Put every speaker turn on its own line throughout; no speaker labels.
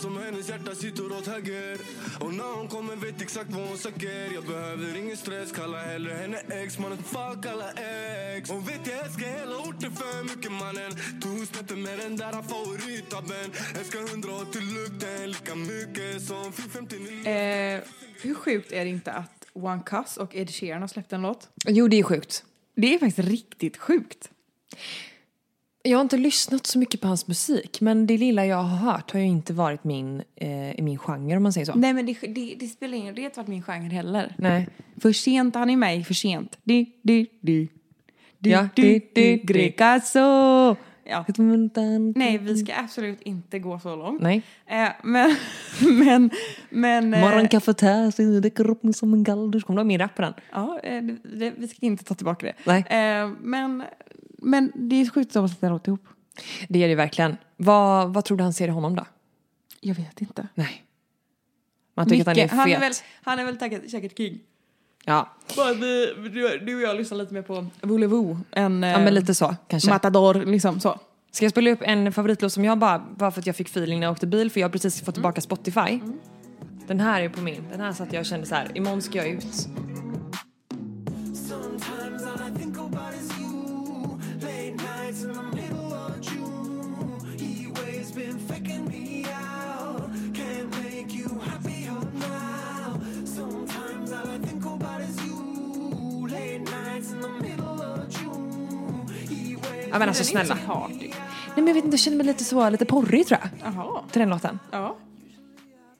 som hennes hjärta sitter åt höger Och när hon kommer vet exakt vad hon söker Jag behöver ingen stress, kalla hellre henne ex Mannen fuck alla ex Hon vet jag älskar hela orten för mycket mannen Tog snäppet med den där favorittabben Älskar hundra och till lukten lika mycket som 459
Eh, hur sjukt är det inte att One Cuss och Ed Sheeran har släppt en låt?
Jo, det är sjukt.
Det är faktiskt riktigt sjukt.
Jag har inte lyssnat så mycket på hans musik men det lilla jag har hört har ju inte varit min, eh, min genre om man säger så.
Nej men det, det, det spelar ingen roll, det har inte varit min genre heller.
Nej.
För sent, han är med i För sent. Du, du, du. Du,
Ja,
du,
du,
du,
du.
Grecaso. Ja.
Nej.
Nej, vi ska absolut inte gå så långt.
Nej.
Eh, men, men, men... eh,
Morgonkaffet här, så räcker upp mig som en galldusch. Kommer du ihåg min rap på den?
Ja, eh, det, det, vi ska inte ta tillbaka det.
Nej.
Eh, men, men det är sjukt att de har satt en låt ihop.
Det är det verkligen. Vad, vad tror du han ser i honom då?
Jag vet inte.
Nej. Man tycker att han
Mycket.
är
han
fet.
är väl, han är väl taggad, säkert king.
ja.
Bara att vi, du, du och jag lyssnar lite mer på Voulez-Vous än eh,
ja, men lite så kanske.
Matador, liksom så.
Ska jag spela upp en favoritlåt som jag bara, bara för att jag fick feeling när jag åkte bil för jag har precis fått tillbaka Spotify. Den här är på min. Den här satt jag och kände så här, imorgon ska jag ut.
Sometimes all I think about is you. Late nights in the middle of June. He always been faking me out. Can't make you happier now. Sometimes all I think about is you. Late nights in the middle of June. He always
Ja men alltså
Den är inte
snälla.
så party.
Nej men jag vet inte, jag känner mig lite så, lite porrig tror jag.
Jaha.
Till den låten.
Ja.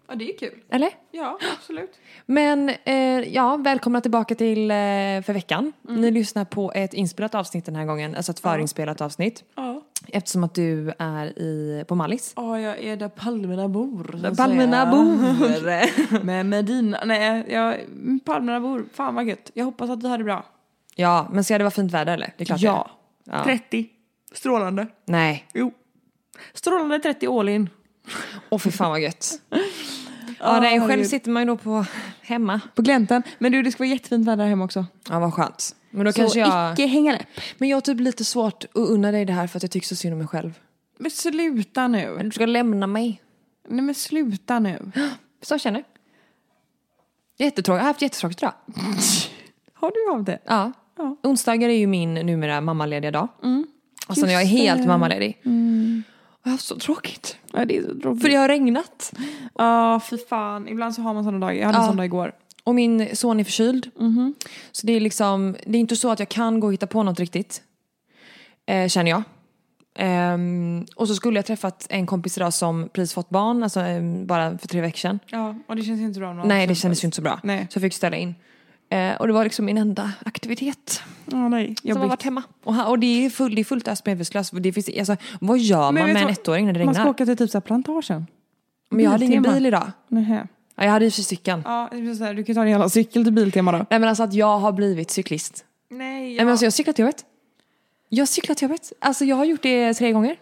Ja, det är kul.
Eller?
Ja, absolut.
Men eh, ja, välkomna tillbaka till eh, för veckan. Ni lyssnar på ett inspelat avsnitt den här gången, alltså ett förinspelat avsnitt.
Ja.
Eftersom att du är i, på Mallis.
Ja, jag är där palmerna bor. så att
Palmerna
säga. Med Medina. Nej, jag, palmerna bor. Fan vad gött. Jag hoppas att du har det bra.
Ja, men ska det vara fint väder eller? Det är klart det
Ja.
är. ja.
30. Strålande.
Nej.
Jo. Strålande 30 all in.
Åh fy fan vad gött. Ja, nej, själv
herregud.
sitter man ju då på hemma.
På gläntan. Men du, det ska vara jättefint väder hemma också.
Ja, vad skönt. Men då kanske jag...
icke hänga läpp.
Men jag har typ lite svårt att unna dig det här för att jag tycker så synd om mig själv.
Men sluta nu.
Du ska lämna mig.
Nej men sluta nu.
Så jag känner. Jättetråkigt. Jag har haft jättetråkigt idag.
Har du av det?
Ja.
Ja. Mm.
Onsdagar är ju min numera mammalediga dag. Alltså när jag är
Just
helt
det. Mm.
mammaledig. Och jag har haft så tråkigt.
Ja det är så
För
tråkigt.
det har regnat.
Ja fy fan. Ibland så har man sådana dagar. Jag hade
Ja.
en sån dag igår.
Och min son är förkyld.
Mm-hmm.
Så det är liksom, det är inte så att jag kan gå och hitta på något riktigt. Eh, känner jag. Ehm, och så skulle jag träffat en kompis idag som precis fått barn, alltså ehm, bara för tre veckor sedan.
Ja och det känns ju inte bra. om man-
Nej det kändes ju inte så bra.
Nej.
Så jag fick ställa in. Eh, och det var liksom min enda aktivitet
Ja nej.
som har
Jobbigt.
varit hemma. Och, ha- och det är, full, det är fullt ös medvetslös. Det finns, alltså, vad gör man
vet
med
du
en
vad?
ettåring när det
Man ska
regnar?
åka till typ så här plantagen.
Men jag hade ingen
Biltema.
bil idag.
Nähä.
Ja, jag hade i och för sig cykeln.
Ja det blir så här, du kan ju ta din jävla cykel till Biltema då.
Nej men alltså att jag har blivit cyklist.
Nej.
Nej, men alltså, jag cyklar till jobbet. Jag cyklar till jobbet. Alltså, jag har gjort det tre gånger.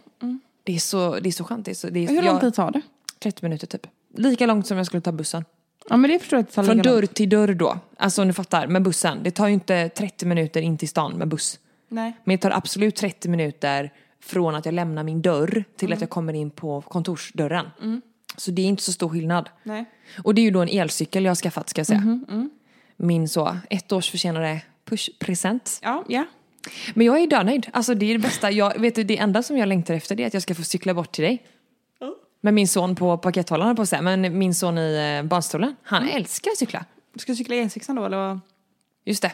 Det, är så, det är så skönt. Det är så, det är,
Mm. Hur lång
jag,
tid tar det?
30 minuter typ. Lika långt som jag skulle ta bussen.
Ja men det förstår jag att det tar
Från
lika lång
dörr till dörr då. Alltså om du fattar, med bussen. Det tar ju inte 30 minuter in till stan med buss.
Nej.
Men det tar absolut 30 minuter från att jag lämnar min dörr till att jag kommer in på kontorsdörren. Så det är inte så stor skillnad.
Nej.
Och det är ju då en elcykel jag har skaffat ska jag säga. Min så ett års försenade pushpresent.
Ja, ja.
Men jag är dönöjd. Alltså det är det bästa. Jag, vet du, det enda som jag längtar efter det är att jag ska få cykla bort till dig. Med min son på pakethållaren på sig. Men min son i eh, barnstolen, han älskar att cykla.
Ska du cykla E6 då eller? vad?
Just det.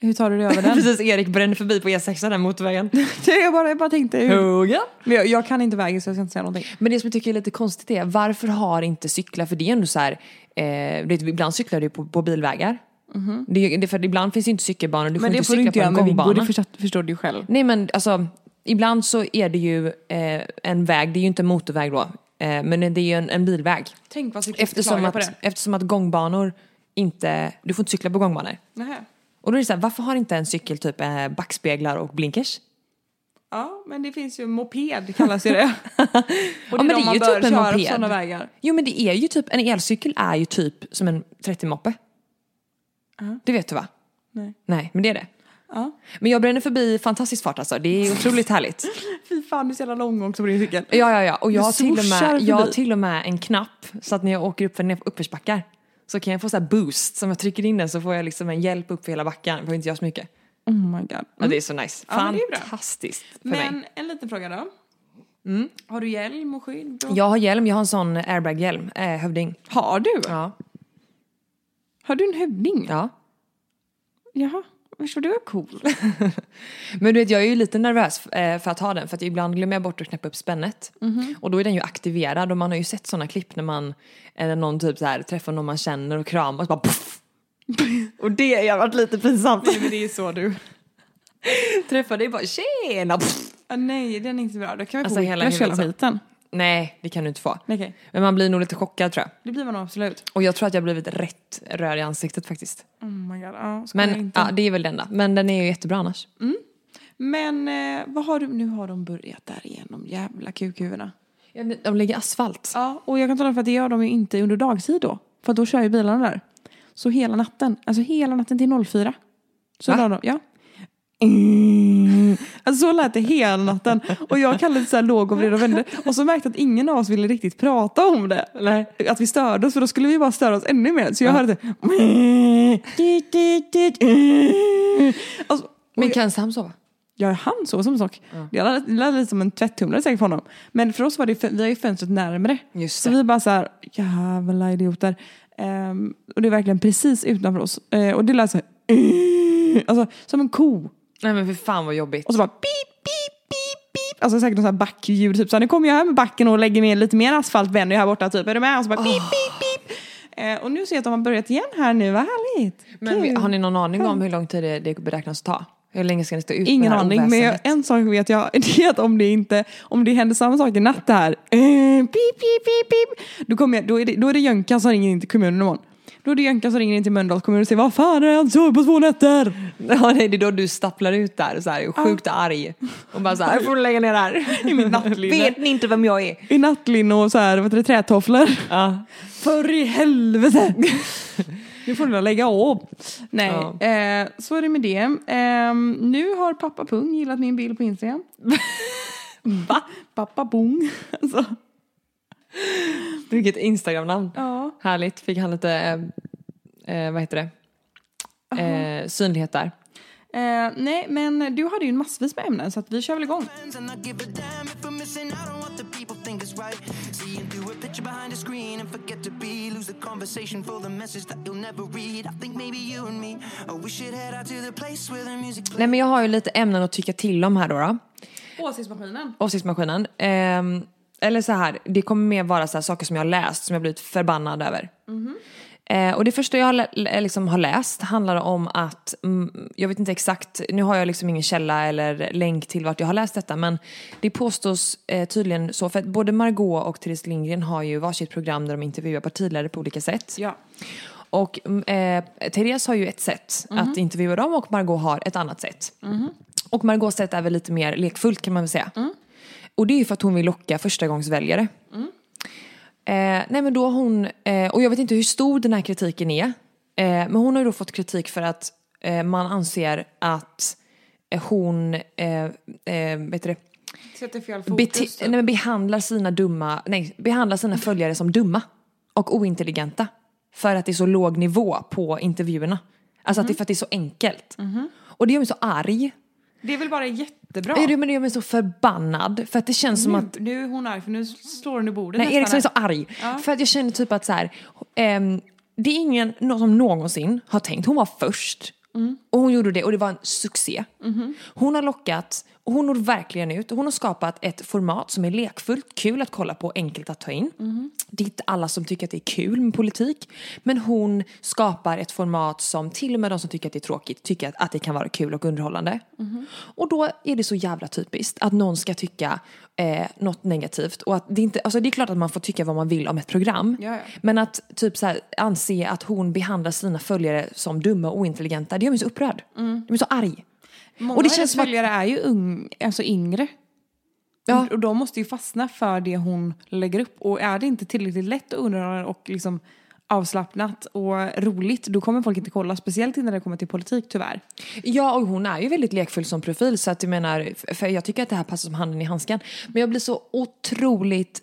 Hur tar du dig över den?
Precis, Erik brände förbi på E6 den motorvägen.
jag, bara, jag bara tänkte hur...
Höga.
Men jag, jag kan inte vägen så jag ska inte säga någonting.
Men det som jag tycker är lite konstigt är, varför har inte cykla, för det är ändå så här, eh, du vet, ibland cyklar du ju på, på bilvägar. Det, det, för ibland finns ju inte cykelbanor, du
Mhm.
får
Men det
inte
får du
cykla
inte
på
göra
en
med Viggo,
gångbana.
det förstår, förstår du ju själv.
Nej men alltså, ibland så är det ju eh, en väg, det är ju inte en motorväg då, eh, men det är ju en, en bilväg.
Tänk vad cyklister
Eftersom
klagar
att,
på det.
eftersom att gångbanor inte, du får inte cykla på gångbanor.
Nähä.
Och då är det så här, varför har inte en cykel typ eh, backspeglar och blinkers?
Ja, men det finns ju moped kallas ju det. Och
men
de
det är
man
ju
bör
typ en
köra på
moped.
sådana vägar.
Jo men det är ju typ, en elcykel är ju typ som en 30-moppe. Det vet du va?
Nej.
Nej, men det är det. Men jag bränner förbi i fantastisk fart alltså. Det är otroligt härligt.
Fy fan, du är så jävla långång på din cykel.
Ja, ja, ja. Och jag
Du
har, till och
swooshar
med, jag har
förbi.
till och med en knapp så att när jag åker upp för nerf- uppförsbackar så kan jag få så här boost. Så om jag trycker in den så får jag liksom en hjälp upp för hela backen. Jag behöver inte göra så mycket.
Oh my god.
Ja, det är så nice.
Ja, men det är bra.
Fantastiskt för
Men
mig.
en liten fråga då.
Mm.
Har du hjälm och skydd? Och...
Jag har hjälm, jag har en sån airbag-hjälm. Eh, hövding.
Har du?
Ja.
Har du en hövding?
ja.
Jaha. Visst var du cool?
Men du vet, jag är ju lite nervös eh, för att ha den för att ibland glömmer jag bort att knäppa upp spännet.
Mhm.
Och då är den ju aktiverad och man har ju sett sådana klipp när man eller någon typ så här, träffar någon man känner och kramas och bara puff. Och det har varit lite pinsamt.
Nej, men det är så du.
Träffar dig bara tjena! Pff.
Ah, nej, den är inte bra. Då kan vi
Alltså,
få
hela
whiplash hela
huvudet så.
skiten.
Nej, det kan du inte få.
Nej, Okej,
Men man blir nog lite chockad tror jag.
det blir man nog absolut.
Och jag tror att jag blivit rätt röd i ansiktet faktiskt.
Oh my god. Ja, ska jag
Men
inte.
ja, det är väl det enda. Men den är ju jättebra annars.
Men eh, vad har du? Nu har de börjat där igen, de jävla kukhuvudena.
Ja, De lägger asfalt.
Ja, och jag kan tala om för att det gör de ju inte under dagtid då. För att då kör ju bilarna där. Så hela natten, alltså hela natten till 04. Så
Va?
la de, ja. Mm. Alltså så lät det hela natten. Och jag kallade det så här låg och vred och vände. Och så märkte jag att ingen av oss ville riktigt prata om det.
Nej.
Att vi störde oss, för då skulle vi bara störa oss ännu mer. Så jag hörde typ- det. Alltså, och
Men kan Sam sova?
Ja, han sov som en sock. Det lät- det lät lite som en tvättumlare säkert för honom. Men för oss var det, fö- vi har ju fönstret närmre.
Just
så
det.
vi bara så här, jävla idioter. Ehm, och det är verkligen precis utanför oss. Eh, och det lät så här, "Eh", alltså som en ko.
Nej men för fan vad jobbigt.
Och så bara pip, pip, pip, pip. Alltså säkert något sånt här backljud. Typ så här, nu kommer jag här med backen och lägger ner lite mer asfalt, vänder jag här borta typ. Är du med? Och så bara pip,
Ah.
pip, pip. Eh, och nu ser jag att de har börjat igen här nu, vad härligt.
Men vi-
Kul.
har ni någon aning om hur lång tid det, det beräknas ta? Hur länge ska ni stå ut
Ingen
med det här
aning, men jag,
oväsendet?
en sak vet jag. Det är att om det, inte, om det händer samma sak i natt det här. Eh, pip, pip, pip, pip. Då, kommer jag, då, är det, då är det Jönkan som ringer in till kommunen imorgon. Då är det Jönkan som ringer in till Mölndals kommun och säger Vad fan har han sovit på två nätter?
Ja, nej, det är då du stapplar ut där så här, sjukt arg. Och bara så här, jag får lägga ner det här.
I mitt nattlinne.
Vet ni inte vem jag är?
I nattlinne och så här, vad heter det, trätofflor.
Ja.
För i helvete! nu får du väl lägga av. Nej,
Ja.
eh, så är det med det. Eh, nu har pappa Pung gillat min bild på Instagram. Va? Pappa Pung. Alltså,
Vilket Instagram-namn.
ja.
Härligt, fick han lite, eh, eh, vad heter det, eh, synlighet där.
Eh, nej, men du hade ju massvis med ämnen så att vi kör väl igång.
friends and not give a damn if I'm missing out on what the people think is right. Seeing through a picture behind a screen and forget to be. Lose the conversation for the message that you'll never read. I think maybe you and me, oh, we should head out to the place where the music plays.
Nej men jag har ju lite ämnen att tycka till om här då. då.
Åsiktsmaskinen.
Åsiktsmaskinen. Ehm, eller så här, det kommer mer vara så här, saker som jag har läst som jag blivit förbannad över. Eh, och det första jag har, lä- lä- liksom har läst handlar om att, mm, jag vet inte exakt, nu har jag liksom ingen källa eller länk till vart jag har läst detta men det påstås eh, tydligen så, för att både Margot och Therese Lindgren har ju varsitt program där de intervjuar partiledare på olika sätt.
Ja.
Och mm, eh, Therese har ju ett sätt att intervjua dem och Margot har ett annat sätt. Och Margots sätt är väl lite mer lekfullt kan man väl säga. Och det är ju för att hon vill locka förstagångsväljare. Eh, nej men då har hon, eh, och jag vet inte hur stor den här kritiken är. Eh, men hon har ju då fått kritik för att eh, man anser att eh, hon, eh, eh, vet du det,
Sätter fel
Bete- nej, men behandlar sina dumma, nej, behandlar sina följare som dumma och ointelligenta. För att det är så låg nivå på intervjuerna. Alltså att det är för att det är så enkelt. Och det gör mig så arg.
Det är väl bara jättebra.
Ja. Men det gör mig så förbannad. För att det känns som att
Nu, nu är hon arg för nu slår hon i bordet
Nej,
nästan
Eriksson är så
här.
arg. För att jag känner typ att så här, ehm, det är ingen någon som någonsin har tänkt. Hon var först. Och hon gjorde det och det var en succé. Hon har lockat, och hon når verkligen ut. Hon har skapat ett format som är lekfullt, kul att kolla på, enkelt att ta in. Det är inte alla som tycker att det är kul med politik. Men hon skapar ett format som till och med de som tycker att det är tråkigt tycker att, att det kan vara kul och underhållande.
Mhm.
Och då är det så jävla typiskt att någon ska tycka eh, något negativt. Och att det, inte, alltså det är klart att man får tycka vad man vill om ett program.
Ja, ja.
Men att typ så här, anse att hon behandlar sina följare som dumma och ointelligenta, det gör mig så upprörd.
Mm.
Jag blir så arg.
Många
och det
av
känns
hennes
som att,
följare är ju ung, alltså yngre.
Ja.
Och de måste ju fastna för det hon lägger upp. Och är det inte tillräckligt lätt och underhållande och liksom avslappnat och roligt då kommer folk inte kolla. Speciellt inte när det kommer till politik tyvärr.
Ja, och hon är ju väldigt lekfull som profil så att jag menar, för jag tycker att det här passar som handen i handsken. Men jag blir så otroligt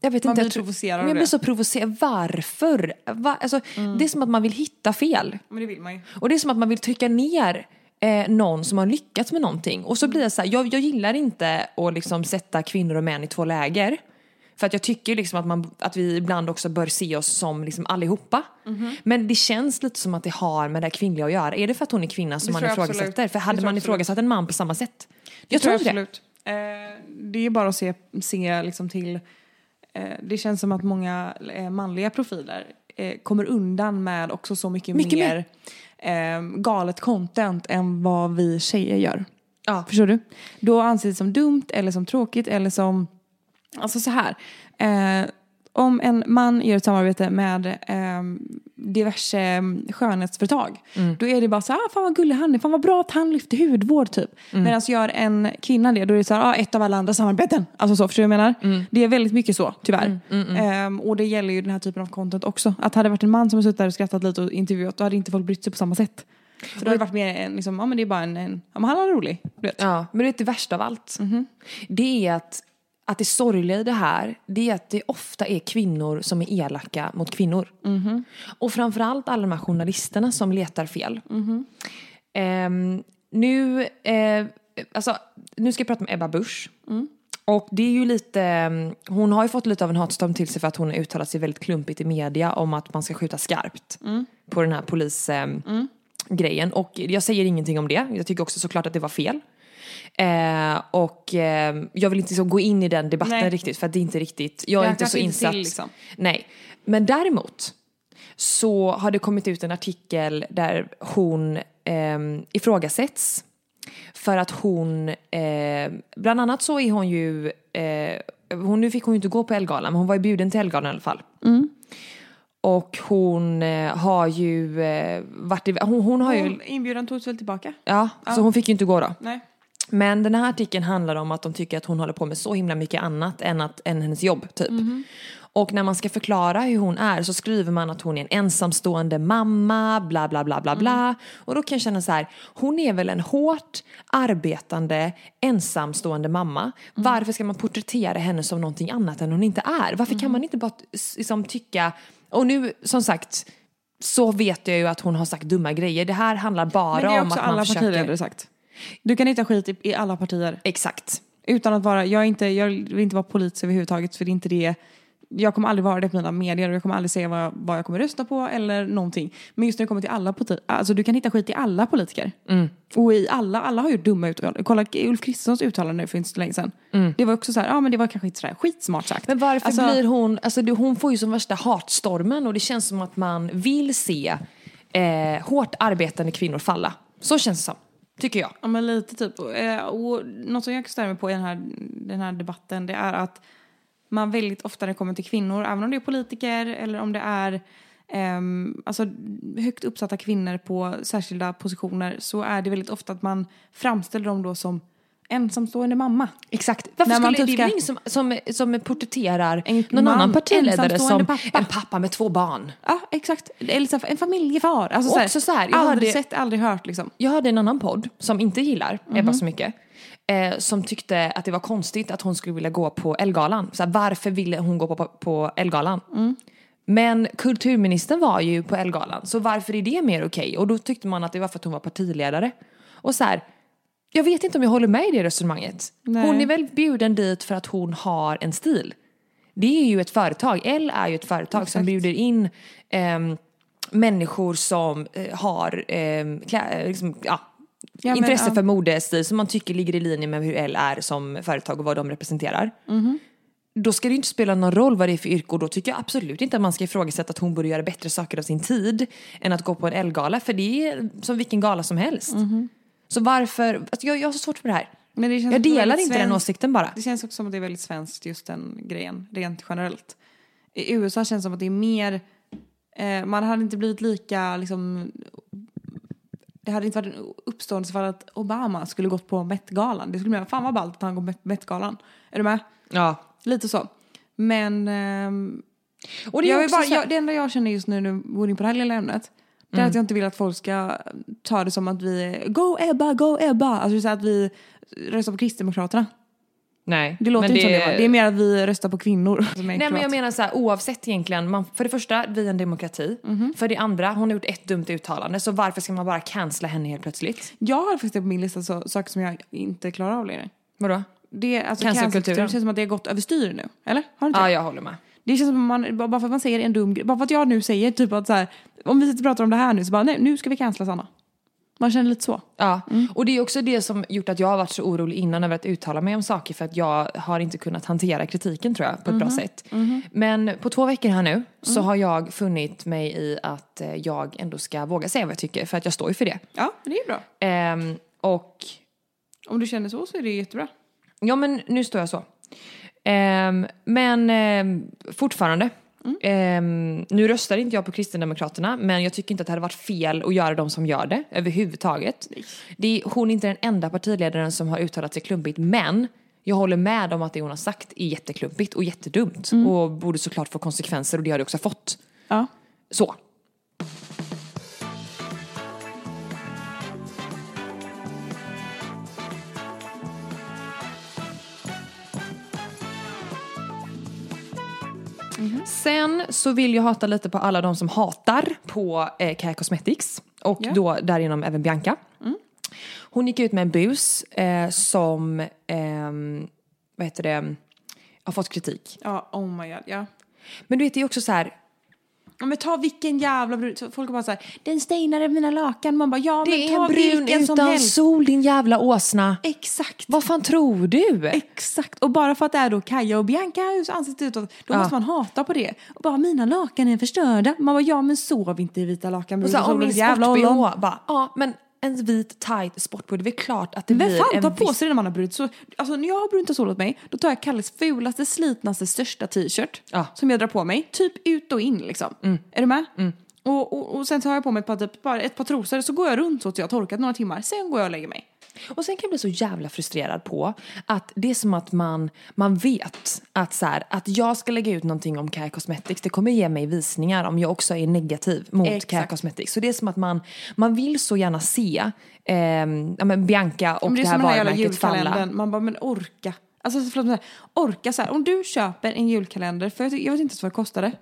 jag vet
Man
inte,
blir
jag tror-
provocerad av
men Jag
det. Mm.
blir så provocerad. Varför? Va? Alltså, Det är som att man vill hitta fel.
Men det vill man ju.
Och det är som att man vill trycka ner eh, någon som har lyckats med någonting. Och så blir jag så här, jag, jag gillar inte att liksom sätta kvinnor och män i två läger. För att jag tycker liksom att, man, att vi ibland också bör se oss som liksom allihopa.
Mhm.
Men det känns lite som att det har med det här kvinnliga att göra. Är det för att hon är kvinna som
Det
man
tror jag absolut.
ifrågasätter? För
Det
hade
tror
man
jag absolut.
ifrågasatt en man på samma sätt? Jag tror
tror jag
inte det.
absolut. Eh, det är bara att se, se liksom till... Eh, det känns som att många eh, manliga profiler eh, kommer undan med också så mycket,
Mycket
mer, Eh, galet content än vad vi tjejer gör.
Ja.
Förstår du? Då anses det som dumt eller som tråkigt eller som... Alltså så här. Eh, om en man gör ett samarbete med eh, diverse eh, skönhetsföretag. Då är det bara så här, ah, fan vad gullig han är, fan vad bra att han lyfter hudvård typ. Medan gör en kvinna det, då är det så här, ah, ett av alla andra samarbeten. Alltså så, förstår du vad jag menar? Det är väldigt mycket så, tyvärr. Eh, och det gäller ju den här typen av content också. Att hade det varit en man som har suttit där och skrattat lite och intervjuat, då hade inte folk brytt sig på samma sätt. För då hade det varit mer en, liksom, ja men det är bara en, en ja men han är rolig. Du vet.
Ja, men det är det värsta av allt. Det är att, att det sorgliga i det här, det är att det ofta är kvinnor som är elaka mot kvinnor. Och framförallt alla de här journalisterna som letar fel. Ehm, nu, eh, alltså, nu ska jag prata med Ebba Busch. Och det är ju lite, ehm, hon har ju fått lite av en hatstorm till sig för att hon har uttalat sig väldigt klumpigt i media om att man ska skjuta skarpt på den här polis... ehm, grejen. Och jag säger ingenting om det. Jag tycker också såklart att det var fel. Eh, och eh, jag vill inte liksom gå in i den debatten
Nej.
riktigt för att det är inte riktigt, jag
Det
är
här
inte
knappt
så
inte till,
insatt.
liksom.
Nej. Men däremot så har det kommit ut en artikel där hon eh, ifrågasätts. För att hon, eh, bland annat så är hon ju, eh, hon, nu fick hon ju inte gå på Ellegalan men hon var ju bjuden till Ellegalan i alla fall. Och hon eh, har ju eh, varit i, hon, hon har ju,
Och Inbjudan togs väl tillbaka?
ja, så hon fick ju inte gå då.
Nej.
Men den här artikeln handlar om att de tycker att hon håller på med så himla mycket annat än, att, än hennes jobb typ.
Mhm.
Och när man ska förklara hur hon är så skriver man att hon är en ensamstående mamma, bla bla bla bla
Mm.
bla. Och då kan jag känna så här, hon är väl en hårt arbetande ensamstående mamma.
Mm.
Varför ska man porträttera henne som någonting annat än hon inte är? Varför
Mm.
kan man inte bara s- liksom, tycka, och nu som sagt så vet jag ju att hon har sagt dumma grejer. Det här handlar bara
Men det är
om
också
att
alla
man försöker...
partiledare sagt. Du kan hitta skit i, i alla partier.
Exakt.
Utan att vara, jag, är inte, jag vill inte vara politisk överhuvudtaget för det är inte det jag kommer aldrig vara det på mina medier och jag kommer aldrig säga vad jag, vad jag kommer rösta på eller någonting. Men just när det kommer till alla politiker, alltså du kan hitta skit i alla politiker.
Mm.
Och i alla, alla har gjort dumma uttalanden. Kolla Ulf Kristerssons uttalande nu för inte så länge sedan. Det var också så här, ja men det var kanske inte så här skitsmart sagt.
Mm. Men varför
Alltså-
blir hon, alltså det- hon får ju som värsta hatstormen och det känns som att man vill se eh, hårt arbetande kvinnor falla. Så känns det som, tycker jag.
Ja men lite typ. Och, eh, och något som jag kan störa mig på i den här, den här debatten det är att man väldigt ofta när det kommer till kvinnor, även om det är politiker eller om det är ehm, alltså, högt uppsatta kvinnor på särskilda positioner så är det väldigt ofta att man framställer dem då som ensamstående mamma.
Exakt. Varför
När man
skulle,
typ
det är väl
ska-
ingen som, som, som porträtterar
En
någon
man,
annan partiledare som
ensamstående pappa.
en pappa med två barn?
Ja exakt, eller så här, en familjefar. Alltså, så här,
Också så här, jag
aldrig
hörde-
sett, aldrig hört liksom.
Jag hörde en annan podd som inte gillar Ebba så mycket. Eh, som tyckte att det var konstigt att hon skulle vilja gå på Ellegalan. Så här, Varför ville hon gå på, på, på Ellegalan? Men kulturministern var ju på Ellegalan. Så varför är det mer okej? Och då tyckte man att det var för att hon var partiledare. Och så här, jag vet inte om jag håller med i det resonemanget.
Nej.
Hon är väl bjuden dit för att hon har en stil. Det är ju ett företag. L är ju ett företag som bjuder in ehm, människor som eh, har ehm, klä, eh, liksom, ja,
Ja, men,
intresse
ja.
för modestil som man tycker ligger i linje med hur L är som företag och vad de representerar.
Mhm.
Då ska det ju inte spela någon roll vad det är för yrke och då tycker jag absolut inte att man ska ifrågasätta att hon borde göra bättre saker av sin tid än att gå på en L-gala för det är som vilken gala som helst. Så varför, alltså jag, jag har så svårt för det här.
Men Mhm. det känns
jag
också
delar
väldigt
inte den
svenskt.
åsikten bara.
Det känns också som att det är väldigt svenskt just den grejen, rent generellt. I USA känns det som att det är mer, eh, man hade inte blivit lika liksom, det hade inte varit en uppståndelse för att Obama skulle gått på Met-galan. Det skulle bli fan vad ballt att han går på Met- Met-galan. Är du med?
Ja.
Lite så. Men ehm,
Och det är
jag
jag
vill bara,
så här, Mm.
jag, det enda jag känner just nu när du går in på det här lilla ämnet det är att jag inte vill att folk ska ta det som att vi är Go Ebba, go Ebba! Alltså så här att vi röstar på Kristdemokraterna.
nej,
Det låter
men
inte som det var. Det är mer att vi röstar på kvinnor. Som är
Nej men
kroat.
jag menar så här, oavsett egentligen, man, för det första, vi är en demokrati. För det andra, hon har gjort ett dumt uttalande så varför ska man bara cancella henne helt plötsligt?
jag har faktiskt det på min lista så, saker som jag inte klarar av längre.
Vadå?
Det, alltså,
Cancelkulturen.
cancelkulturen, Det känns som att det har gått överstyr nu. Eller? Har det inte
Ja,
det?
jag håller med.
Det känns som att man, bara för att man säger en dum grej. Bara för att jag nu säger typ att så här, om vi sitter och pratar om det här nu så bara nej, nu ska vi cancella Sanna. Man känner lite så.
Ja, Mm. och det är också det som gjort att jag har varit så orolig innan över att uttala mig om saker för att jag har inte kunnat hantera kritiken tror jag på ett bra sätt. Men på två veckor här nu så har jag funnit mig i att eh, jag ändå ska våga säga vad jag tycker för att jag står ju för det.
Ja, det är ju bra.
Ehm, och
Om du känner så så är det jättebra.
Ja, men nu står jag så. Ehm, men ehm, fortfarande. Ehm, nu röstar inte jag på Kristdemokraterna, men jag tycker inte att det hade varit fel att göra de som gör det överhuvudtaget. Det är, hon är inte den enda partiledaren som har uttalat sig klumpigt, men jag håller med om att det hon har sagt är jätteklumpigt och jättedumt och borde såklart få konsekvenser och det har det också fått.
Ja.
Så. Sen så vill jag hata lite på alla de som hatar på eh, Care Cosmetics och
Ja.
då därigenom även Bianca. Hon gick ut med en bus eh, som, ehm, vad heter det, har fått kritik.
Ja, oh my god. Ja.
Men du vet det är också så här,
Ja, men ta vilken jävla brud. Så Folk bara så här, den stainade mina lakan. Man bara, ja
det
men
är en
ta
brun
vilken som
utan
helst.
sol din jävla åsna.
Exakt.
Vad fan tror du?
Exakt. Och bara för att det är då Kaja och Bianca så anses det utåt, då
Ja.
måste man hata på det. Och bara, mina lakan är förstörda. Man bara, ja men sov inte i vita lakan.
Och så här, om
bruden,
min
så jävla ollon.
sport-bh, bara, ja men en vit tight sportbh, det är väl klart att det
Vem
blir
fan
en
tar på sig det när man har brutit så, Alltså när jag har brunt och solat mig, då tar jag Kalles fulaste, slitnaste, största t-shirt
Ja. Mm.
som jag drar på mig. Typ ut och in liksom. Är du med? Och, och, och sen tar jag på mig ett par, typ, bara ett par trosor så går jag runt så tills jag har torkat några timmar. Sen går jag och lägger mig.
Och sen kan jag bli så jävla frustrerad på att det är som att man, man vet att så här, att jag ska lägga ut någonting om Care Cosmetics, det kommer ge mig visningar om jag också är negativ mot
Exakt.
Care Cosmetics. Så det är som att man, man vill så gärna se ehm, ja, men Bianca och
Men
det,
det är
här
som den här jävla
varumärket falla.
julkalendern. Man bara, men orka. Alltså förlåt, men så här, orka så här. Om du köper en julkalender, för jag, ty- jag vet inte ens vad det kostade.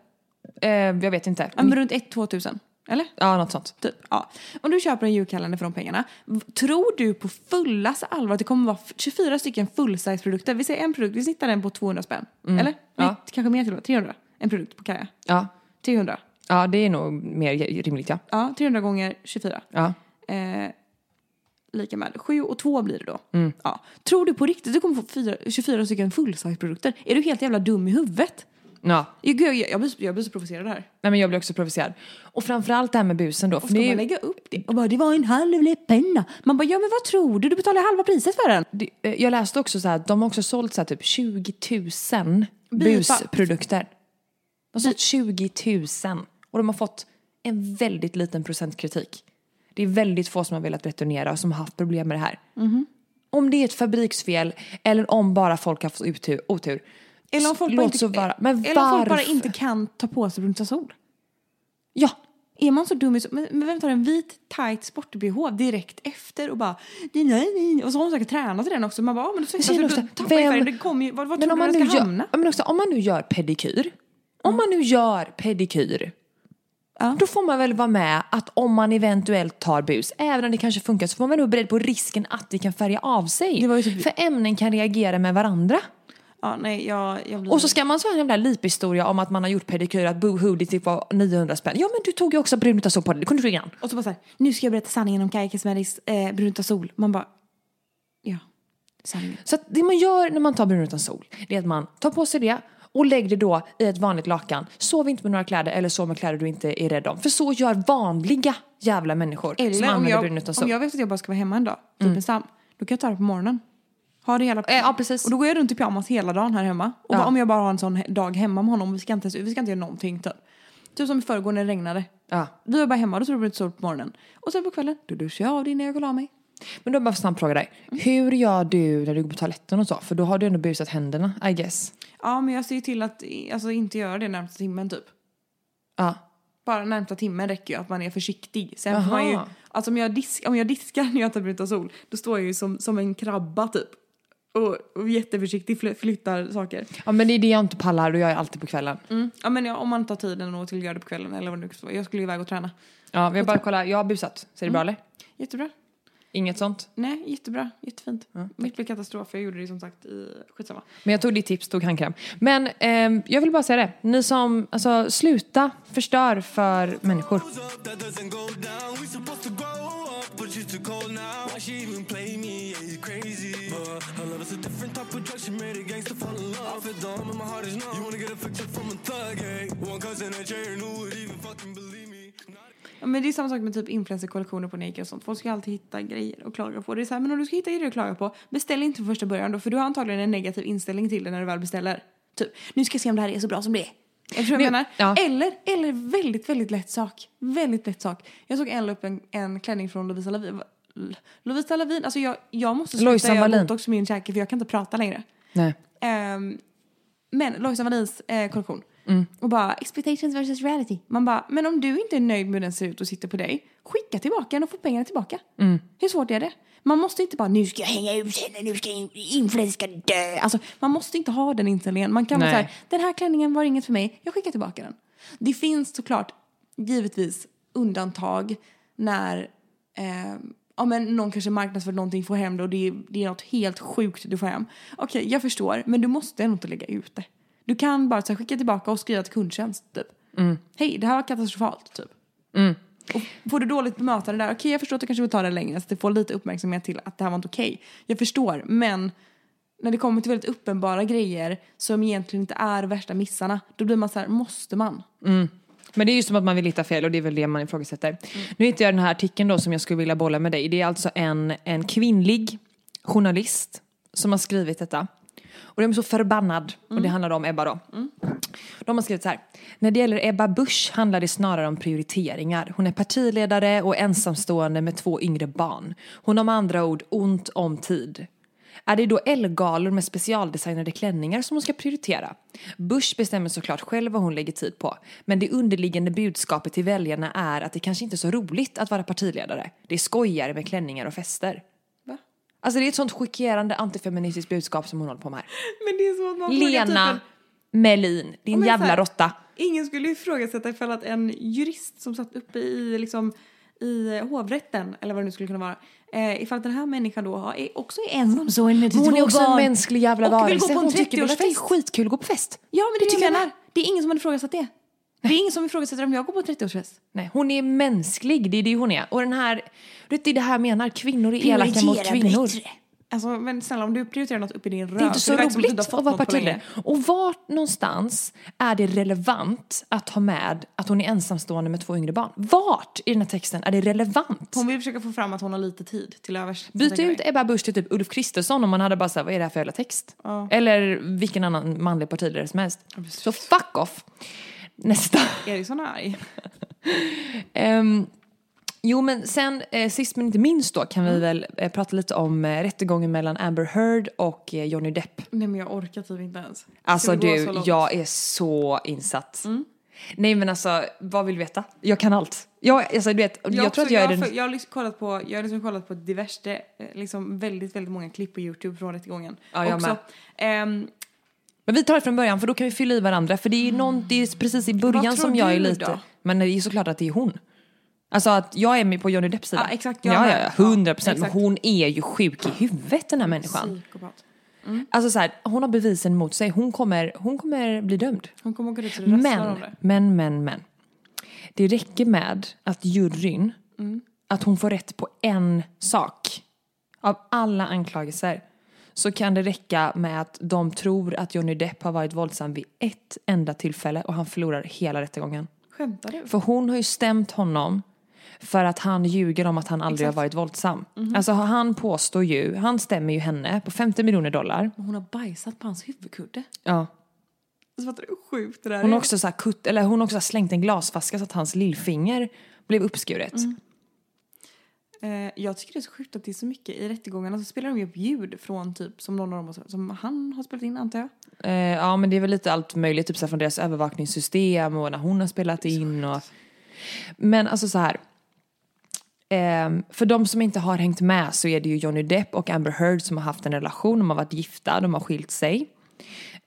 Eh, jag vet inte.
Ja, Men runt 1-2 tusen. Eller?
Ja, något sånt.
Typ, ja. Om du köper en julkalender för de pengarna, v- tror du på fullaste allvar att det kommer vara f- 24 stycken fullsize-produkter? Vi säger en produkt, vi snittar den på 200 spänn. Eller? Nej,
Mm. Ja.
Kanske mer till och med, 300. En produkt på Kaja.
Ja.
300.
ja, det är nog mer rimligt ja.
Ja, 300 gånger 24.
ja.
Eh, lika med 7 och 2 blir det då.
Mm.
Ja. Tror du på riktigt att du kommer få fyra, 24 stycken fullsize-produkter? Är du helt jävla dum i huvudet?
ja.
Jag, jag, jag, blir, så- jag blir så provocerad här.
Nej, men jag blir också provocerad. Och framförallt det här med busen då. För
Ska
det är
man
ju-
lägga upp det? Och bara, det var en halv penna. Man bara, ja men vad tror du? Du betalar halva priset för den.
Det- eh, Jag läste också så här, de har också sålt så här typ 20 000
Bipa.
busprodukter. De har sålt 20 000 och de har fått en väldigt liten procent kritik. Det är väldigt få som har velat returnera och som har haft problem med det här.
Mhm.
Om det är ett fabriksfel eller om bara folk har haft otur. otur
Eller om folk,
låt
bara
så
inte,
vara. Men
eller om folk bara
varför?
inte kan ta på sig brunta sol.
Ja,
Är man så dum i så- men, men vem tar en vit tight sport-bh direkt efter och bara nej, nej, nej. Och så har hon säkert tränat i den också. Man bara, ja men då svettas
känner
du,
också,
då tappar ju
vem-
färgen. Det kommer ju, vad, vad
men
tror
om
du
man,
den
nu
ska
gör,
hamna?
ja, men också, om man nu gör pedikyr. Om man nu gör pedikyr.
Ja.
Då får man väl vara med att om man eventuellt tar bus, även om det kanske funkar, så får man vara beredd på risken att det kan färga av sig.
Det var ju typ-
För ämnen kan reagera med varandra.
Ja, nej, jag, jag blir...
Och så ska man så ha en jävla liphistoria om att man har gjort pedikyr, att boohoo, det typ var 900 spänn. Ja men du tog ju också brun utan sol på dig, det kunde du redan.
Och så bara så här, nu ska jag berätta sanningen om Kaja Kismeris eh, brunta sol. Man bara, ja, sanningen.
Så att det man gör när man tar brun utan sol, det är att man tar på sig det och lägger det då i ett vanligt lakan. Sov inte med några kläder eller sov med kläder du inte är rädd om. För så gör vanliga jävla människor som
Eller om
använder
jag,
brun utan sol. Mm.
om jag vet att jag bara ska vara hemma en dag, typ en sam, då kan jag ta det på morgonen. Ha det hela,
Eh, ja, precis.
Och då går jag runt i pyjamas hela dagen här hemma. Och
Ja.
bara, om jag bara har en sån he- dag hemma med honom, vi ska inte, ens- vi ska inte göra någonting typ. Typ som i förrgår när det regnade.
Ja.
Vi var bara hemma, då tog vi ut sol på morgonen. Och sen på kvällen, då duschar jag av det innan jag går och la mig.
Men då bara
Mm.
en snabb fråga dig. Hur gör du när du går på toaletten och så? För då har du ändå busat händerna, I guess.
Ja ja men jag ser till att i- alltså, inte göra det närmsta timmen typ.
Ja.
Bara närmsta timmen räcker ju att man är försiktig. Sen får man ju,
Jaha.
alltså om jag, disk, om jag diskar när jag tar bruta sol, då står jag ju som, som en krabba typ. Och, och jätteförsiktigt fly- flyttar saker.
ja, men det är det jag inte pallar och jag är alltid på kvällen.
Mm. Ja men ja, om man tar tiden och till att göra det på kvällen eller vad det nu ska vara. Jag skulle ju iväg och träna.
Ja, vi bara kollar. Jag har busat. Ser det
Mm.
bra eller?
Jättebra.
Inget sånt.
Nej, jättebra. Jättefint. Mitt blev katastrof, jag gjorde det som sagt i... Skitsamma.
Men jag tog ditt tips, tog handkräm. Men ehm, jag vill bara säga det. Ni som, alltså sluta förstör för människor.
goes up, that doesn't go down. We supposed to grow up, but she's too cold now. Why she even play me? Yeah, you crazy. But her love is a different type of drug. She made a gangster fall in love. I feel dumb and my heart is numb. You wanna get a picture from a thug, eh? One cousin and Jay, who would even fucking believe me? Not
Ja, men det är samma sak med typ influencerkollektioner på Nike och sånt. Folk ska alltid hitta grejer och klaga på. Det är så här, men om du ska hitta grejer att klaga på, beställ inte från första början då. För du har antagligen en negativ inställning till det när du väl beställer. Typ, nu ska jag se om det här är så bra som det är. Jag tror jag
Men-
menar.
ja.
Eller, eller väldigt, väldigt lätt sak. Väldigt lätt sak. Jag såg en upp en, en klänning från Lovisa Lavin. Lovisa Lavin, alltså jag, jag måste
Lojsan
sluta göra
Wallin.
botox i min käke för jag kan inte prata längre.
Nej.
Ehm, men Lojsan Wallins eh, kollektion. Och bara expectations versus reality. Man bara, men om du inte är nöjd med hur den ser ut och sitter på dig, skicka tillbaka den och få pengarna tillbaka. Hur svårt är det? Man måste inte bara, nu ska jag hänga ut henne, nu ska in- influencer ska dö. Alltså, man måste inte ha den inställningen. Man kan vara
Nej.
såhär, den här klänningen var inget för mig, jag skickar tillbaka den. Det finns såklart givetvis undantag när eh, ja, men någon kanske marknadsför någonting, får hem det och det är, det är något helt sjukt du får hem. Okej, jag förstår, men du måste ändå inte lägga ut det. Du kan bara så här, skicka tillbaka och skriva till kundtjänst typ. Hej, det här var katastrofalt typ. Och får du dåligt bemötande där, okej jag förstår att du kanske vill ta det längre så att det får lite uppmärksamhet till att det här var inte okej. Jag förstår, men när det kommer till väldigt uppenbara grejer som egentligen inte är värsta missarna, då blir man så här, måste man?
Men det är ju som att man vill hitta fel och det är väl det man ifrågasätter. Nu hittade jag den här artikeln då som jag skulle vilja bolla med dig. Det är alltså en, en kvinnlig journalist som har skrivit detta. Och de är så förbannad. Och det handlar om Ebba då. De har skrivit så här. När det gäller Ebba Busch handlar det snarare om prioriteringar. Hon är partiledare och ensamstående med två yngre barn. Hon har med andra ord ont om tid. Är det då L-galor med specialdesignade klänningar som hon ska prioritera? Bush bestämmer såklart själv vad hon lägger tid på. Men det underliggande budskapet till väljarna är att det kanske inte är så roligt att vara partiledare. Det är skojigare med klänningar och fester.
Va?
Alltså det är ett sånt chockerande antifeministiskt budskap som hon håller på med här.
Men det är som att man frågar typ en-
Lena Melin, din
men så
jävla
här-
råtta.
Ingen skulle ifrågasätta ifall att en jurist som satt uppe i, liksom, i hovrätten, eller vad det nu skulle kunna vara, eh, ifall att den här människan då har, är, också är ensamstående med
Hon är
två
också en
barn
mänsklig jävla
och vill
varelse.
gå på en
Hon tycker väl att det är
30-årsfest.
skitkul att gå på fest.
Ja, men det,
Det
är det
tycker
jag
jag
menar. Det är ingen som har ifrågasatt det. Det är ingen som ifrågasätter om jag går på 30-årsfest.
Nej, hon är mänsklig, det är det hon är. Och den här, du vet, det är det här jag menar, kvinnor är elaka mot kvinnor.
Alltså, men snälla om du prioriterar något upp i din röv.
Det är inte så
verkar som du
roligt
inte har fått
att vara
något på länge.
partiledare. Och var någonstans är det relevant att ha med att hon är ensamstående med två yngre barn? Vart i den här texten är det relevant?
Hon vill försöka få fram att hon har lite tid till övers.
Byt ut Ebba Busch till typ Ulf Kristersson om man hade bara såhär, vad är det här för jävla text?
Ja.
Eller vilken annan manlig partiledare som helst.
precis.
så fuck off! Nästa.
Eriksson är arg.
Ehm, jo men sen eh, sist men inte minst då
Mm.
kan vi väl eh, prata lite om eh, rättegången mellan Amber Heard och eh, Johnny Depp.
Nej men jag orkar typ inte ens. Ska det
Alltså
gå
du,
så långt? Mm.
jag är så insatt. Nej men alltså, vad vill du veta? Jag kan allt. Jag, alltså, du vet, jag,
Jag,
tror
tror
att jag
jag,
är den...
har för- jag har liksom kollat på, jag har liksom kollat på diverse, eh, liksom väldigt, väldigt många klipp på Youtube från rättegången.
Ja, jag
också.
med.
Ehm,
Men vi tar det från början för då kan vi fylla i varandra för det är, någon, det är precis i
Mm. Vad
början
tror
som jag
du
är lite...
då?
Men det är ju såklart att det är hon. Alltså att jag är med på Johnny Depps sida.
Ja, exakt, jag
Ja, ja,
med.
ja. 100
Ja,
procent. Men
exakt.
hon är ju sjuk i huvudet den här människan.
psykopat.
Alltså så här, hon har bevisen mot sig. Hon kommer, hon kommer bli dömd.
Hon kommer gå dit så det rasslar om
Men,
det.
men, men, men. Det räcker med att juryn, att hon får rätt på en sak av alla anklagelser. Så kan det räcka med att de tror att Johnny Depp har varit våldsam vid ett enda tillfälle och han förlorar hela rättegången.
Skämtar du?
För hon har ju stämt honom för att han ljuger om att han aldrig har varit våldsam.
Mhm.
Alltså han påstår ju, han stämmer ju henne på 50 miljoner dollar.
Hon har bajsat på hans huvudkudde.
Ja.
Alltså, Fattar du hur sjukt det där
Hon
är?
har också, så här kutt, eller hon har också slängt en glasflaska så att hans lillfinger blev uppskuret.
Eh, jag tycker det är så sjukt att det är så mycket i rättegångarna så spelar de ju upp ljud från typ som någon av dem har- som han har spelat in antar jag.
Eh, ja men det är väl lite allt möjligt, typ så här från deras övervakningssystem och när hon har spelat in och... Men alltså så här. Ehm, för de som inte har hängt med så är det ju Johnny Depp och Amber Heard som har haft en relation, de har varit gifta, de har skilt sig.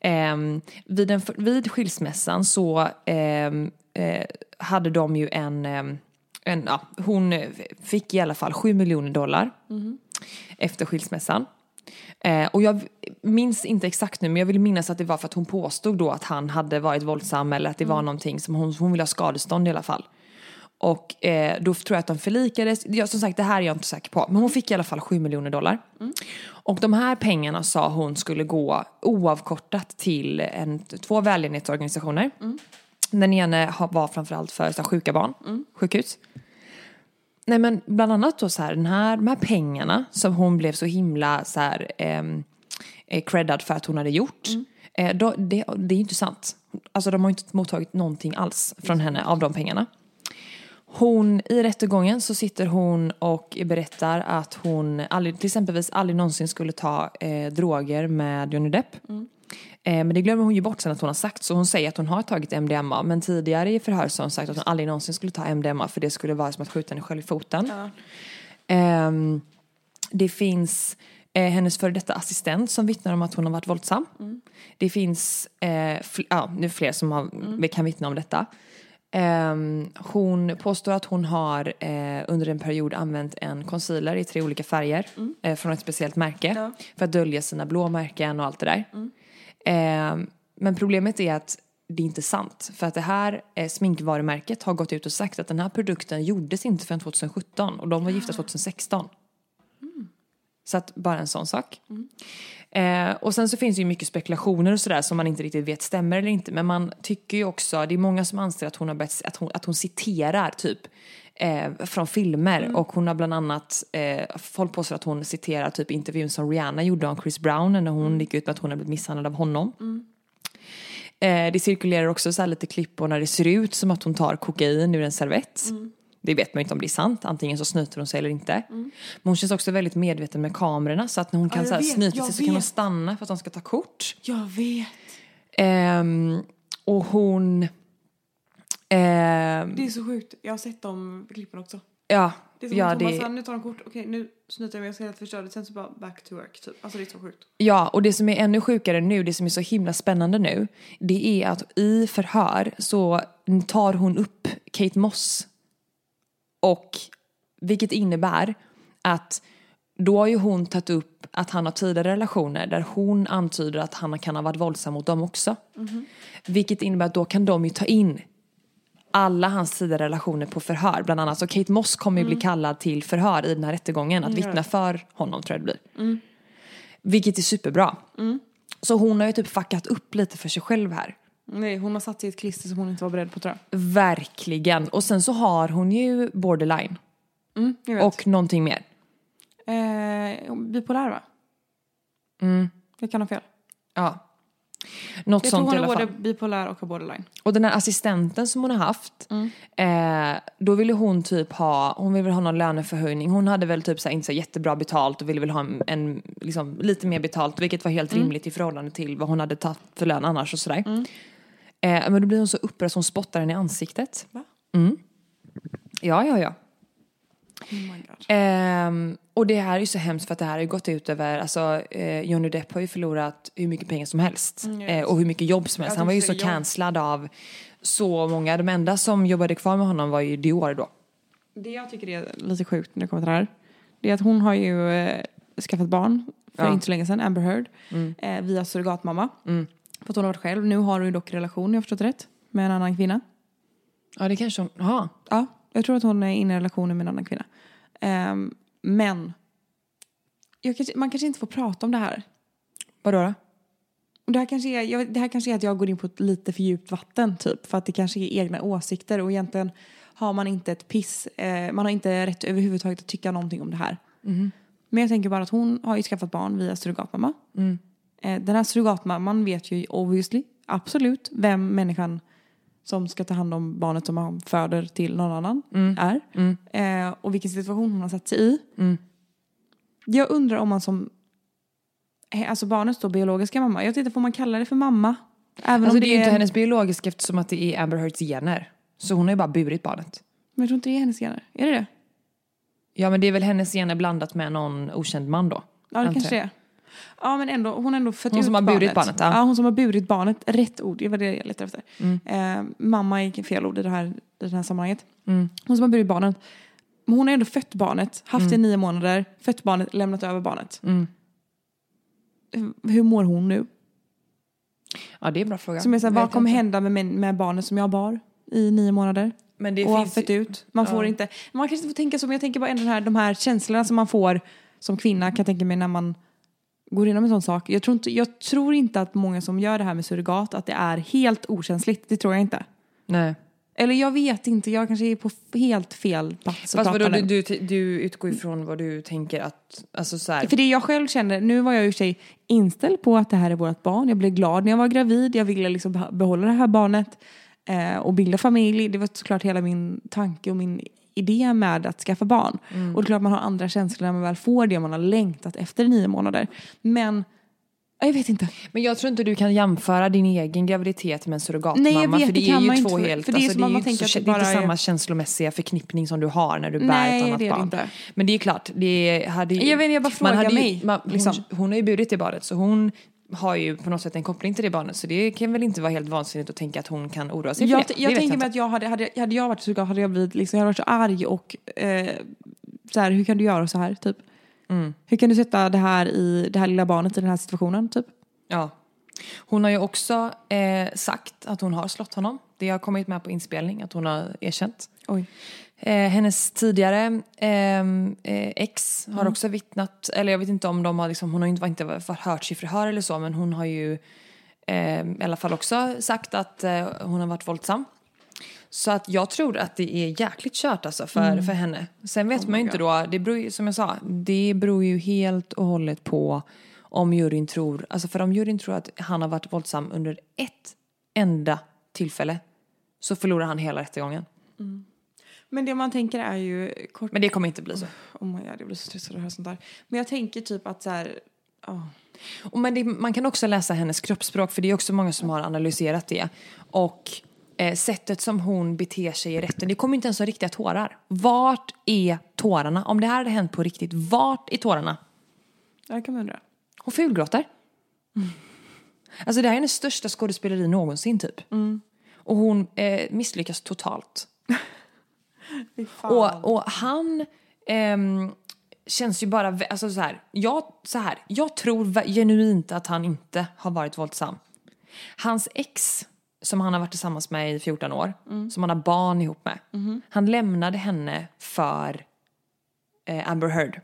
Ehm, vid, en, vid skilsmässan så ehm, eh, hade de ju en, ehm, en ja, hon eh, fick i alla fall 7 miljoner dollar efter skilsmässan. Eh, och jag minns inte exakt nu men jag vill minnas att det var för att hon påstod då att han hade varit våldsam eller att det var någonting som hon, hon ville ha skadestånd i alla fall. Och eh, då tror jag att de förlikades. Ja, som sagt, det här är jag inte säker på. Men hon fick i alla fall 7 miljoner dollar. Och de här pengarna sa hon skulle gå oavkortat till en, två välgörenhetsorganisationer. Den ena ha- var framförallt för så här, sjuka barn, sjukhus. Nej men bland annat då så här, den här, de här pengarna som hon blev så himla så här ehm, eh, creddad för att hon hade gjort. Eh, då, det, det är ju inte sant. Alltså de har ju inte mottagit någonting alls från henne av de pengarna. Hon, I rättegången så sitter hon och berättar att hon aldrig, till exempelvis aldrig någonsin skulle ta eh, droger med Johnny Depp. Eh, men det glömmer hon ju bort sen att hon har sagt. Så hon säger att hon har tagit MDMA. Men tidigare i förhör så har hon sagt att hon aldrig någonsin skulle ta MDMA för det skulle vara som att skjuta henne själv i foten. Ehm, det finns eh, hennes före detta assistent som vittnar om att hon har varit våldsam. Det finns eh, fl- ja, nu fler som har, vi kan vittna om detta. Ehm, hon påstår att hon har eh, under en period använt en concealer i tre olika färger eh, från ett speciellt märke
Ja.
för att dölja sina blåmärken och allt det där. Ehm, men problemet är att det är inte sant. För att det här eh, sminkvarumärket har gått ut och sagt att den här produkten gjordes inte förrän 2017 och de var gifta 2016. Så att bara en sån sak. Eh, och sen så finns det ju mycket spekulationer och sådär som man inte riktigt vet stämmer eller inte. Men man tycker ju också, det är många som anser att hon, har börjat, att hon, att hon citerar typ eh, från filmer. Och hon har bland annat, eh, folk påstår att hon citerar typ intervjun som Rihanna gjorde om Chris Brown när hon gick ut med att hon har blivit misshandlad av honom. Eh, det cirkulerar också så här lite klipp och när det ser ut som att hon tar kokain ur en servett.
Mm.
Det vet man ju inte om det är sant, antingen så snyter hon sig eller inte. Men hon känns också väldigt medveten med kamerorna så att när hon kan
jag
så här
vet,
snyta
jag
sig så kan hon
vet.
stanna för att de ska ta kort.
Jag vet.
Ehm, och hon... ehm,
Det är så sjukt. Jag har sett de klippen också.
ja,
Det är som
ja,
att hon bara
det,
såhär, nu tar de kort, okej nu snyter jag mig, jag ska helt förstöra det. Sen så bara back to work typ. Alltså det är så sjukt.
Ja, och det som är ännu sjukare nu, det som är så himla spännande nu, det är att i förhör så tar hon upp Kate Moss. Och vilket innebär att då har ju hon tagit upp att han har tidigare relationer där hon antyder att han kan ha varit våldsam mot dem också. Vilket innebär att då kan de ju ta in alla hans tidigare relationer på förhör. Bland annat så Kate Moss kommer ju bli kallad till förhör i den här rättegången att vittna för honom tror jag det blir. Vilket är superbra. Så hon har ju typ fuckat upp lite för sig själv här.
Nej hon har satt sig i ett klister som hon inte var beredd på tror jag.
Verkligen. Och sen så har hon ju borderline
Mm, jag vet.
och någonting mer.
Eh, bipolär va? Mm. Jag kan ha fel.
Ja. Något
Jag
sånt i
tror
alla
hon är
fall.
både bipolär och har borderline.
Och den här assistenten som hon har haft,
Mm.
eh, då ville hon typ ha, hon ville väl ha någon löneförhöjning. Hon hade väl typ så här, inte så jättebra betalt och ville väl ha en, en liksom, lite mer betalt, vilket var
Mm.
helt rimligt i förhållande till vad hon hade tagit för lön annars och sådär. Eh, men då blir hon så upprörd så hon spottar henne i ansiktet.
Va?
Ja, ja, ja.
Oh my god.
Ehm, och det här är ju så hemskt för att det här har ju gått ut över, alltså eh, Johnny Depp har ju förlorat hur mycket pengar som helst
jag
eh,
vet.
och hur mycket jobb som helst.
Jag
Han var ju
tänkte
så
säga jobb.
cancellad av så många, de enda som jobbade kvar med honom var ju Dior då.
Det jag tycker är lite sjukt när det kommer till det här. Det är att hon har ju eh, skaffat barn för
Ja.
inte så länge sedan, Amber Heard. Eh, via surrogatmamma. För att hon har varit själv. Nu har hon ju dock relation, om jag har förstått rätt. Med en annan kvinna.
Ja det kanske hon, ja.
Ja, jag tror att hon är inne i relationer med en annan kvinna. Ehm, men jag kanske, man kanske inte får prata om det här.
Vadå då? Alltså,
Och Det här, kanske är, jag, det här kanske är att jag går in på ett lite för djupt vatten typ. För att det kanske är egna åsikter och egentligen har man inte ett piss. Eh, man har inte rätt överhuvudtaget att tycka någonting om det här. Men jag tänker bara att hon har ju skaffat barn via surrogatmamma.
Mm.
Eh, den här surrogatmamman vet ju obviously absolut vem människan som ska ta hand om barnet som han föder till någon annan
Mm.
är. Eh, och vilken situation hon har satt sig i.
Mm.
Jag undrar om man som, eh, alltså barnets då biologiska mamma, jag tittar på om man kallar det för mamma. Även
Alltså
om
det är ju
en-
inte hennes biologiska eftersom att det är Amber Heards gener. Så hon har ju bara burit barnet.
Men jag tror inte det är hennes gener. Är det det?
Ja men det är väl hennes gener blandat med någon okänd man då.
Ja, det
antar
kanske det
jag.
är. Ja, men ändå. Hon har ändå fött
Hon
ut
som har burit barnet, ja. Mm.
ja. hon som har burit barnet. Rätt ord, det var det jag letade efter. Eh, mamma är fel ord i det här, i det här sammanhanget.
Mm.
Hon som har burit barnet. Men hon har ändå fött barnet, haft
Mm.
det i nio månader, fött barnet, lämnat över barnet. Hur- Hur mår hon nu?
Ja det är en bra fråga.
Som är så här, vad
Vet
kommer
inte.
hända med, min- med barnet som jag bar i nio månader?
Men det
och har
finns ju-
fött ut. Man får inte, man kanske inte får tänka så, men jag tänker bara ändå den här, de här känslorna som man får som kvinna kan jag tänka mig när man går igenom en sån sak. Jag tror, inte, jag tror inte att många som gör det här med surrogat att det är helt okänsligt. Det tror jag inte.
Nej.
Eller jag vet inte, jag kanske är på f- helt fel plats och
Fast vadå,
pratar
du,
nu.
du, du utgår ifrån vad du tänker att, alltså så här,
För det jag själv känner, nu var jag i och för sig inställd på att det här är vårt barn. Jag blev glad när jag var gravid, jag ville liksom beh- behålla det här barnet eh, och bilda familj. Det var såklart hela min tanke och min idé med att skaffa barn.
Mm.
Och det är klart man har andra känslor när man väl får det man har längtat efter i nio månader. Men ja, jag vet inte.
Men jag tror inte du kan jämföra din egen graviditet med en surrogatmamma.
Nej, jag vet,
för
det
det, är
kan
ju
man inte,
två
för-
helt...
för det är
alltså,
som att
det är ju
man
inte,
tänker
så,
att det
det är inte
bara är-
samma känslomässiga förknippning som du har när du bär
Nej,
ett annat
det är det
barn.
inte.
Men det är ju klart, det hade ju...
Jag vet inte, jag bara
man
frågar
hade ju,
mig,
Man,
liksom.
hon, hon har ju burit det barnet så hon har ju på något sätt en koppling till det barnet så det kan väl inte vara helt vansinnigt att tänka att hon kan oroa sig
Jag,
för det.
jag
det vet
tänker
inte.
mig att jag hade, hade, hade jag varit surrogat hade jag blivit, liksom, jag hade varit så arg och eh, så här, hur kan du göra så här typ?
Mm.
Hur kan du sätta det här, i, det här lilla barnet i den här situationen typ?
Ja. Hon har ju också eh, sagt att hon har slått honom. Det har kommit med på inspelning att hon har erkänt.
Oj.
Eh, hennes tidigare ehm, eh, ex har också vittnat, eller jag vet inte om de har liksom, hon har ju inte, var inte var- hört i förhör eller så men hon har ju ehm, i alla fall också sagt att eh, hon har varit våldsam. Så att jag tror att det är jäkligt kört alltså för, för henne. Sen vet man ju inte då, det beror ju, som jag sa, det beror ju helt och hållet på om juryn tror, alltså för om juryn tror att han har varit våldsam under ett enda tillfälle så förlorar han hela rättegången.
Men det man tänker är ju kort...
Men det kommer inte bli så.
Oh my god, jag blir så stressad av att höra sånt där. Men jag tänker typ att så här... ja.
Och men det, man kan också läsa hennes kroppsspråk för det är också många som har analyserat det. Och eh, sättet som hon beter sig i rätten, det kommer inte ens ha riktiga tårar. Vart är tårarna? Om det här hade hänt på riktigt, vart är tårarna?
Jag kan man undra.
Hon fulgråter. Alltså det här är hennes största skådespeleri någonsin typ. Och hon eh, misslyckas totalt.
Fy fan.
Och, och han ehm, känns ju bara... vä- Alltså så här, jag, så här, jag tror vä- genuint att han inte har varit våldsam. Hans ex, som han har varit tillsammans med i 14 år, som han har barn ihop med. Han lämnade henne för eh, Amber Heard.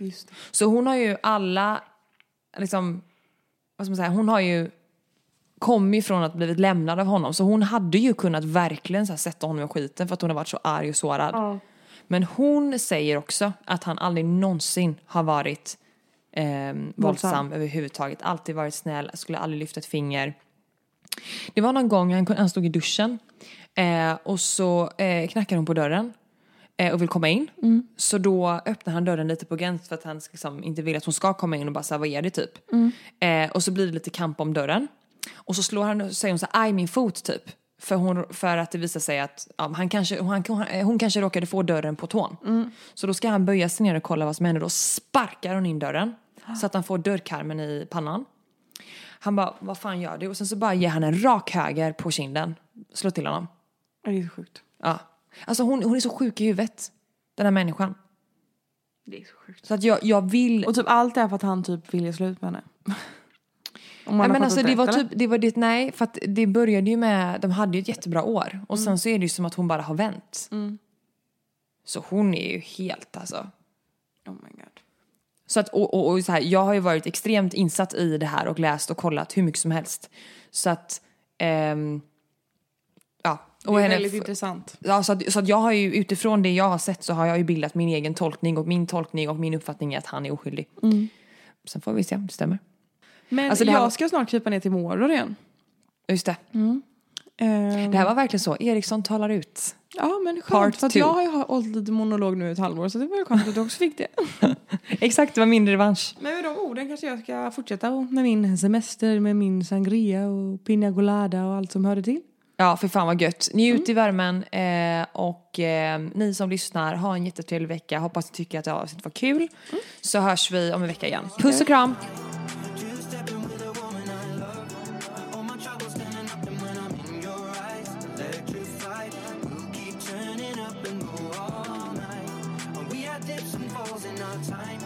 Just det.
Så hon har ju alla, liksom, vad ska man säga, hon har ju kommit från att blivit lämnad av honom. Så hon hade ju kunnat verkligen så här, sätta honom i skiten för att hon har varit så arg och sårad. Men hon säger också att han aldrig någonsin har varit ehm, våldsam, överhuvudtaget. Alltid varit snäll, skulle aldrig lyfta ett finger. Det var någon gång han, han stod i duschen eh, och så eh, knackar hon på dörren eh, och vill komma in. Så då öppnar han dörren lite på gränt för att han liksom inte vill att hon ska komma in och bara säga vad är det typ. Eh, och så blir det lite kamp om dörren. Och så slår han och säger hon så här, aj min fot typ. För, hon, för att det visar sig att ja, han kanske, hon, hon, hon kanske råkade få dörren på tån. Så då ska han böja sig ner och kolla vad som händer. Då sparkar hon in dörren så att han får dörrkarmen i pannan. Han bara, vad fan gör du? Och sen så bara ger han en rak höger på kinden. Slår till honom.
Ja, Det är så sjukt.
Ja. Alltså hon, hon är så sjuk i huvudet. Den här människan.
Det är så sjukt.
Så att jag, jag vill...
Och typ allt det här för att han typ ville slut med henne. Om man
Nej,
har
men
fattat
alltså, det
rätt,
var
eller?
typ, det var det, nej, för att det började ju med, de hade ju ett jättebra år. Och
Mm.
sen så är det ju som att hon bara har vänt. Så hon är ju helt alltså.
Oh my god.
Så att, och, och, och så här, jag har ju varit extremt insatt i det här och läst och kollat hur mycket som helst. Så att, ehm, ja. Och
Det är
henne-
väldigt intressant.
Ja, så att, så att jag har ju utifrån det jag har sett så har jag ju bildat min egen tolkning och min tolkning och min uppfattning är att han är oskyldig. Sen får vi se om det stämmer.
Men
Alltså, det här
jag
var- Mm.
ska snart krypa ner till Mordor igen.
Just det.
Ehm,
Det här var verkligen så. Eriksson talar ut.
ja men
part
skönt. För att
two.
jag har ju hållit lite monolog nu i ett halvår så det var ju skönt att du också fick det.
Exakt, det var min revansch.
Men med de orden kanske jag ska fortsätta och- med min semester, med min sangria och pina colada och allt som hörde till.
Ja, för fan vad gött. Njut i värmen eh, och eh, ni som lyssnar, ha en jättetrevlig vecka. Hoppas ni tycker att det här avsnittet var kul. Så hörs vi om en vecka igen. Mm. Puss och kram!
Two-stepping with a woman I love. All my troubles standing up, and when I'm in your eyes, electrified. We'll keep turning up and go all night. And we had dips and falls in our time,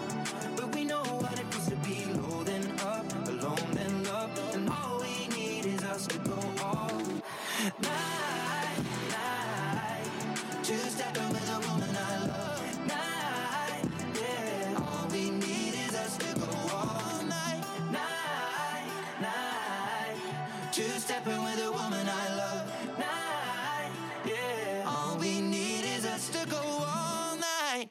but we know what it feels to be low then up, alone then loved. And all we need is us to go all night, night. Two-stepping with a woman I love. Night, yeah. All we need is us to go all night night, night. Two stepping with a woman I love, night, yeah. All we need is us to go all night.